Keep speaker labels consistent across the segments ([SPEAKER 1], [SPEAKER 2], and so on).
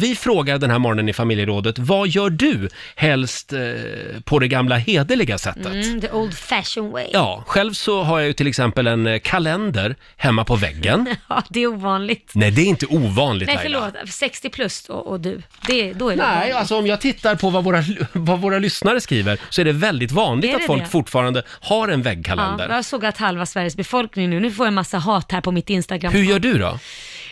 [SPEAKER 1] Vi frågar den här morgonen i familjerådet, vad gör du helst eh, på det gamla hederliga sättet?
[SPEAKER 2] Mm, the old fashion way.
[SPEAKER 1] Ja, själv så har jag ju till exempel en eh, kalender hemma på väggen.
[SPEAKER 2] Ja, det är ovanligt.
[SPEAKER 1] Nej, det är inte ovanligt
[SPEAKER 2] Nej,
[SPEAKER 1] Laila.
[SPEAKER 2] förlåt. 60 plus och, och du. Det, då är det
[SPEAKER 1] Nej,
[SPEAKER 2] ovanligt.
[SPEAKER 1] alltså om jag tittar på vad våra, vad våra lyssnare skriver så är det väldigt vanligt
[SPEAKER 2] Är
[SPEAKER 1] att
[SPEAKER 2] det
[SPEAKER 1] folk
[SPEAKER 2] det?
[SPEAKER 1] fortfarande har en
[SPEAKER 2] Ja,
[SPEAKER 1] väggkalender.
[SPEAKER 2] jag såg att halva Sveriges befolkning nu, nu får jag en massa hat här på mitt Instagram.
[SPEAKER 1] Hur gör du då?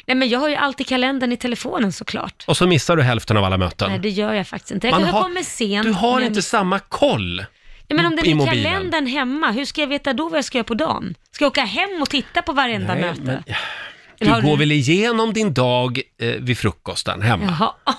[SPEAKER 2] Nej men jag har ju alltid kalendern i telefonen såklart.
[SPEAKER 1] Och så missar du hälften av alla möten.
[SPEAKER 2] Nej det gör jag faktiskt inte. Jag
[SPEAKER 1] Man
[SPEAKER 2] kanske
[SPEAKER 1] har-
[SPEAKER 2] kommer sent.
[SPEAKER 1] du har
[SPEAKER 2] men-
[SPEAKER 1] inte samma koll.
[SPEAKER 2] Ja, men om den
[SPEAKER 1] i
[SPEAKER 2] är
[SPEAKER 1] mobilen.
[SPEAKER 2] kalendern hemma, hur ska jag veta då vad jag ska göra på dagen? Ska jag åka hem och titta på varenda
[SPEAKER 1] Nej,
[SPEAKER 2] möte?
[SPEAKER 1] men-
[SPEAKER 2] Eller
[SPEAKER 1] Du
[SPEAKER 2] har
[SPEAKER 1] går väl igenom din dag eh, vid frukosten hemma.
[SPEAKER 2] Jaha.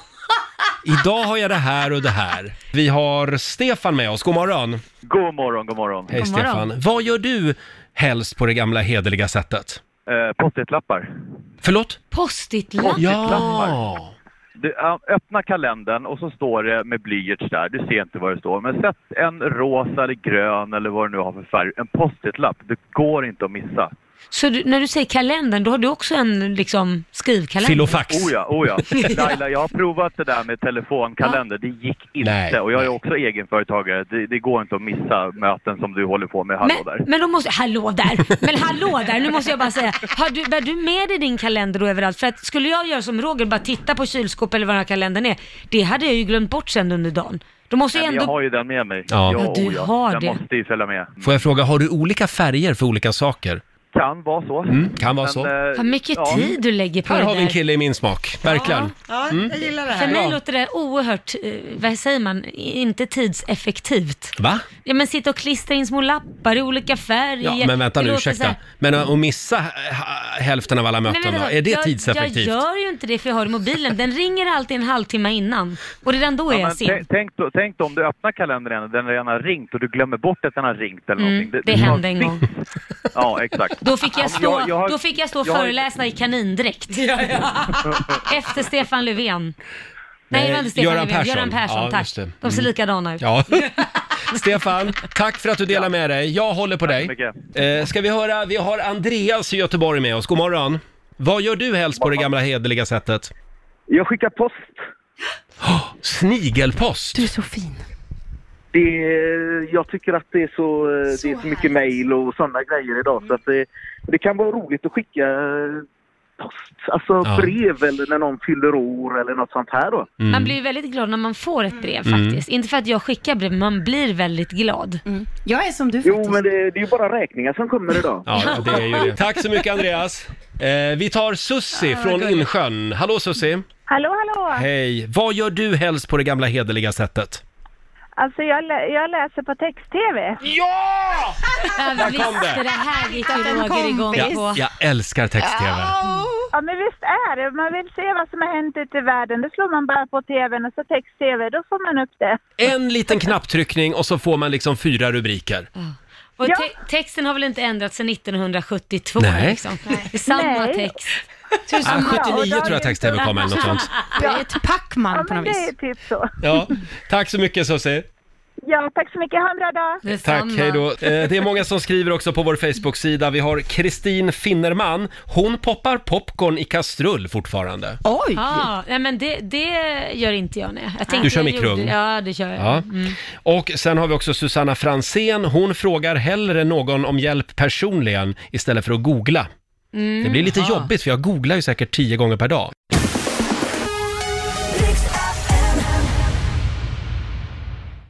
[SPEAKER 1] Idag har jag det här och det här. Vi har Stefan med oss, god morgon.
[SPEAKER 3] God morgon, god morgon.
[SPEAKER 1] Hej
[SPEAKER 2] God morgon.
[SPEAKER 1] Stefan. Vad gör du helst på det gamla hederliga sättet?
[SPEAKER 3] Eh, Post-it-lappar.
[SPEAKER 1] Förlåt?
[SPEAKER 2] Post-it-lapp?
[SPEAKER 1] Ja!
[SPEAKER 3] Du, ja, öppna kalendern och så står det med blyerts där. Du ser inte vad det står. Men sätt en rosa eller grön eller vad du nu har för färg. En post-it-lapp. Det går inte att missa.
[SPEAKER 2] Så du, när du säger kalendern, då har du också en liksom, skrivkalender?
[SPEAKER 1] Filofax.
[SPEAKER 3] Oh ja, oh ja. Laila, jag har provat det där med telefonkalender. Det gick inte.
[SPEAKER 1] Nej,
[SPEAKER 3] och jag är
[SPEAKER 1] nej.
[SPEAKER 3] också egenföretagare. Det, det går inte att missa möten som du håller på med. Hallå där.
[SPEAKER 2] Men, men då måste, hallå där, men hallå där, nu måste jag bara säga, har du, bär du med dig din kalender då överallt? För att skulle jag göra som Roger, bara titta på kylskåp eller vad den här kalendern är, det hade jag ju glömt bort sen under dagen. Då måste
[SPEAKER 3] Nej,
[SPEAKER 2] jag
[SPEAKER 3] men
[SPEAKER 2] ändå...
[SPEAKER 3] jag har ju den med mig.
[SPEAKER 1] Ja.
[SPEAKER 2] Ja, du
[SPEAKER 3] oh
[SPEAKER 2] har
[SPEAKER 3] jag
[SPEAKER 2] det.
[SPEAKER 3] måste ju följa med.
[SPEAKER 1] Får jag fråga, har du olika färger för olika saker?
[SPEAKER 3] Kan vara så.
[SPEAKER 1] Mm, kan vara så.
[SPEAKER 3] eh,
[SPEAKER 2] Vad mycket
[SPEAKER 3] ja.
[SPEAKER 2] tid du lägger på
[SPEAKER 1] Här
[SPEAKER 2] det
[SPEAKER 1] har vi en
[SPEAKER 2] där.
[SPEAKER 1] kille i min smak, verkligen.
[SPEAKER 4] Ja, jag gillar det
[SPEAKER 2] För
[SPEAKER 4] här.
[SPEAKER 2] mig låter det oerhört, eh, vad säger man, inte tidseffektivt.
[SPEAKER 1] Va?
[SPEAKER 2] Ja men sitta och klistra in små lappar i olika färger.
[SPEAKER 1] Ja, men vänta
[SPEAKER 2] Det
[SPEAKER 1] nu,
[SPEAKER 2] låter så
[SPEAKER 1] ursäkta.
[SPEAKER 2] här-
[SPEAKER 1] Men att missa eh, hälften av alla
[SPEAKER 2] Nej, men
[SPEAKER 1] möten då,
[SPEAKER 2] vänta,
[SPEAKER 1] är det
[SPEAKER 2] jag,
[SPEAKER 1] tidseffektivt?
[SPEAKER 2] Jag gör ju inte det för jag har det i mobilen. Den ringer alltid en halvtimme innan. Och redan då är
[SPEAKER 3] Ja,
[SPEAKER 2] jag
[SPEAKER 3] men
[SPEAKER 2] sen.
[SPEAKER 3] tänk, tänk, då, tänk då om du öppnar kalendern igen och den redan har ringt och du glömmer bort att den har ringt eller
[SPEAKER 2] Mm,
[SPEAKER 3] någonting.
[SPEAKER 2] det
[SPEAKER 3] tar
[SPEAKER 2] hände en
[SPEAKER 3] sitt-
[SPEAKER 2] gång.
[SPEAKER 3] Ja, exakt.
[SPEAKER 2] Då fick
[SPEAKER 3] Ja,
[SPEAKER 2] jag
[SPEAKER 3] men
[SPEAKER 2] stå,
[SPEAKER 3] Alltså, jag har-
[SPEAKER 2] då fick jag stå och
[SPEAKER 3] jag har-
[SPEAKER 2] föreläsa i kanindräkt. Efter Stefan Löfven. Nej, det var inte Stefan
[SPEAKER 1] Göran
[SPEAKER 2] Löfven.
[SPEAKER 1] Persson.
[SPEAKER 2] Göran Persson,
[SPEAKER 1] Ja,
[SPEAKER 2] tack.
[SPEAKER 1] just det. Mm.
[SPEAKER 2] De ser likadana ut.
[SPEAKER 1] Ja. Stefan, tack för att du delar med dig. Jag håller på dig.
[SPEAKER 3] mycket.
[SPEAKER 1] Eh, ska vi höra, vi har Andreas i Göteborg med oss. God morgon. Vad gör du helst på det gamla hederliga sättet?
[SPEAKER 5] Jag skickar post.
[SPEAKER 1] Snigelpost!
[SPEAKER 4] Du är så fin.
[SPEAKER 5] Det är, jag tycker att det är så, eh, det är så mycket mejl och sådana grejer idag. Så att det, det kan vara roligt att skicka eh, post, alltså
[SPEAKER 1] Ja.
[SPEAKER 5] brev eller när någon fyller år eller något sånt här då.
[SPEAKER 1] Mm.
[SPEAKER 2] Man blir ju väldigt glad när man får ett brev faktiskt. Inte för att jag skickar brev, men man blir väldigt glad.
[SPEAKER 1] Mm.
[SPEAKER 4] Jag är som du faktiskt.
[SPEAKER 5] Jo, men det, det är ju bara räkningar som kommer idag.
[SPEAKER 1] Ja, det är ju det. Tack så mycket Andreas. Eh, vi tar Sussi från Insjön. Hallå Sussi!
[SPEAKER 6] Hallå, hallå!
[SPEAKER 1] Hej! Vad gör du helst på det gamla hederliga sättet?
[SPEAKER 6] Alltså jag, lä- jag läser på text-tv.
[SPEAKER 2] Jag
[SPEAKER 1] kom det.
[SPEAKER 2] visste det här gick ju
[SPEAKER 4] en
[SPEAKER 2] Roger igång
[SPEAKER 4] kompis.
[SPEAKER 2] på.
[SPEAKER 1] Ja, jag älskar text-tv.
[SPEAKER 6] Ja men visst är det, man vill se vad som har hänt ute i världen. Då slår man bara på tvn och så text-tv, då får man upp det.
[SPEAKER 1] En liten knapptryckning och så får man liksom fyra rubriker.
[SPEAKER 2] Och
[SPEAKER 6] Ja.
[SPEAKER 2] te- texten har väl inte ändrats sedan 1972
[SPEAKER 1] Nej.
[SPEAKER 2] liksom. Det är samma
[SPEAKER 6] Nej.
[SPEAKER 2] text.
[SPEAKER 1] Ah,
[SPEAKER 6] bra.
[SPEAKER 1] 79 tror jag text-tv kom eller något sånt.
[SPEAKER 4] Det är ett
[SPEAKER 6] Ja
[SPEAKER 4] Pac-Man på
[SPEAKER 6] men
[SPEAKER 4] något
[SPEAKER 6] det är
[SPEAKER 4] vis.
[SPEAKER 6] typ så.
[SPEAKER 1] Ja, tack så mycket Susie.
[SPEAKER 6] Ja, tack så mycket, ha en bra dag!
[SPEAKER 2] Det är
[SPEAKER 1] Tack,
[SPEAKER 2] samma.
[SPEAKER 1] hej då. Eh, Det är många som skriver också på vår Facebook-sida. Vi har Kristin Finnerman. Hon poppar popcorn i kastrull fortfarande.
[SPEAKER 4] Oj!
[SPEAKER 2] Ja, nej, men det, det gör inte jag. Nej. jag tänkte
[SPEAKER 1] Du kör
[SPEAKER 2] jag
[SPEAKER 1] mikrougn.
[SPEAKER 2] gjorde- Ja, det kör jag.
[SPEAKER 1] Ja. Och sen har vi också Susanna Fransén. Hon frågar hellre någon om hjälp personligen istället för att googla. Det blir lite jobbigt för jag googlar ju säkert tio gånger per dag.